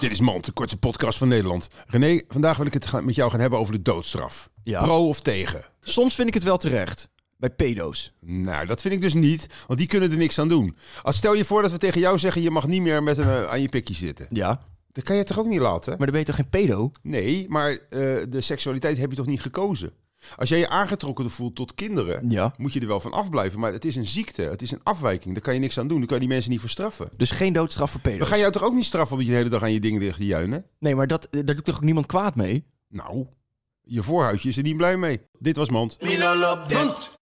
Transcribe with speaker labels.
Speaker 1: Dit is Mand, de kortste podcast van Nederland. René, vandaag wil ik het gaan- met jou gaan hebben over de doodstraf.
Speaker 2: Ja.
Speaker 1: Pro of tegen?
Speaker 2: Soms vind ik het wel terecht. Bij pedo's.
Speaker 1: Nou, dat vind ik dus niet, want die kunnen er niks aan doen. Als stel je voor dat we tegen jou zeggen, je mag niet meer met een, eh, aan je pikkie zitten.
Speaker 2: Ja.
Speaker 1: Dat kan je toch ook niet laten?
Speaker 2: Maar dan ben je toch geen pedo?
Speaker 1: Nee, maar eh, de seksualiteit heb je toch niet gekozen? Als jij je aangetrokken voelt tot kinderen,
Speaker 2: Ja.
Speaker 1: moet je er wel van afblijven. Maar het is een ziekte, het is een afwijking. Daar kan je niks aan doen, daar kan je die mensen niet voor straffen.
Speaker 2: Dus geen doodstraf voor
Speaker 1: We
Speaker 2: pedo's.
Speaker 1: gaan jou toch ook niet straffen omdat je de hele dag aan je dingen ligt te juinen?
Speaker 2: Nee, maar dat, eh, daar doet toch ook niemand kwaad mee?
Speaker 1: Nou, je voorhuidje is er niet blij mee. Dit was Mand.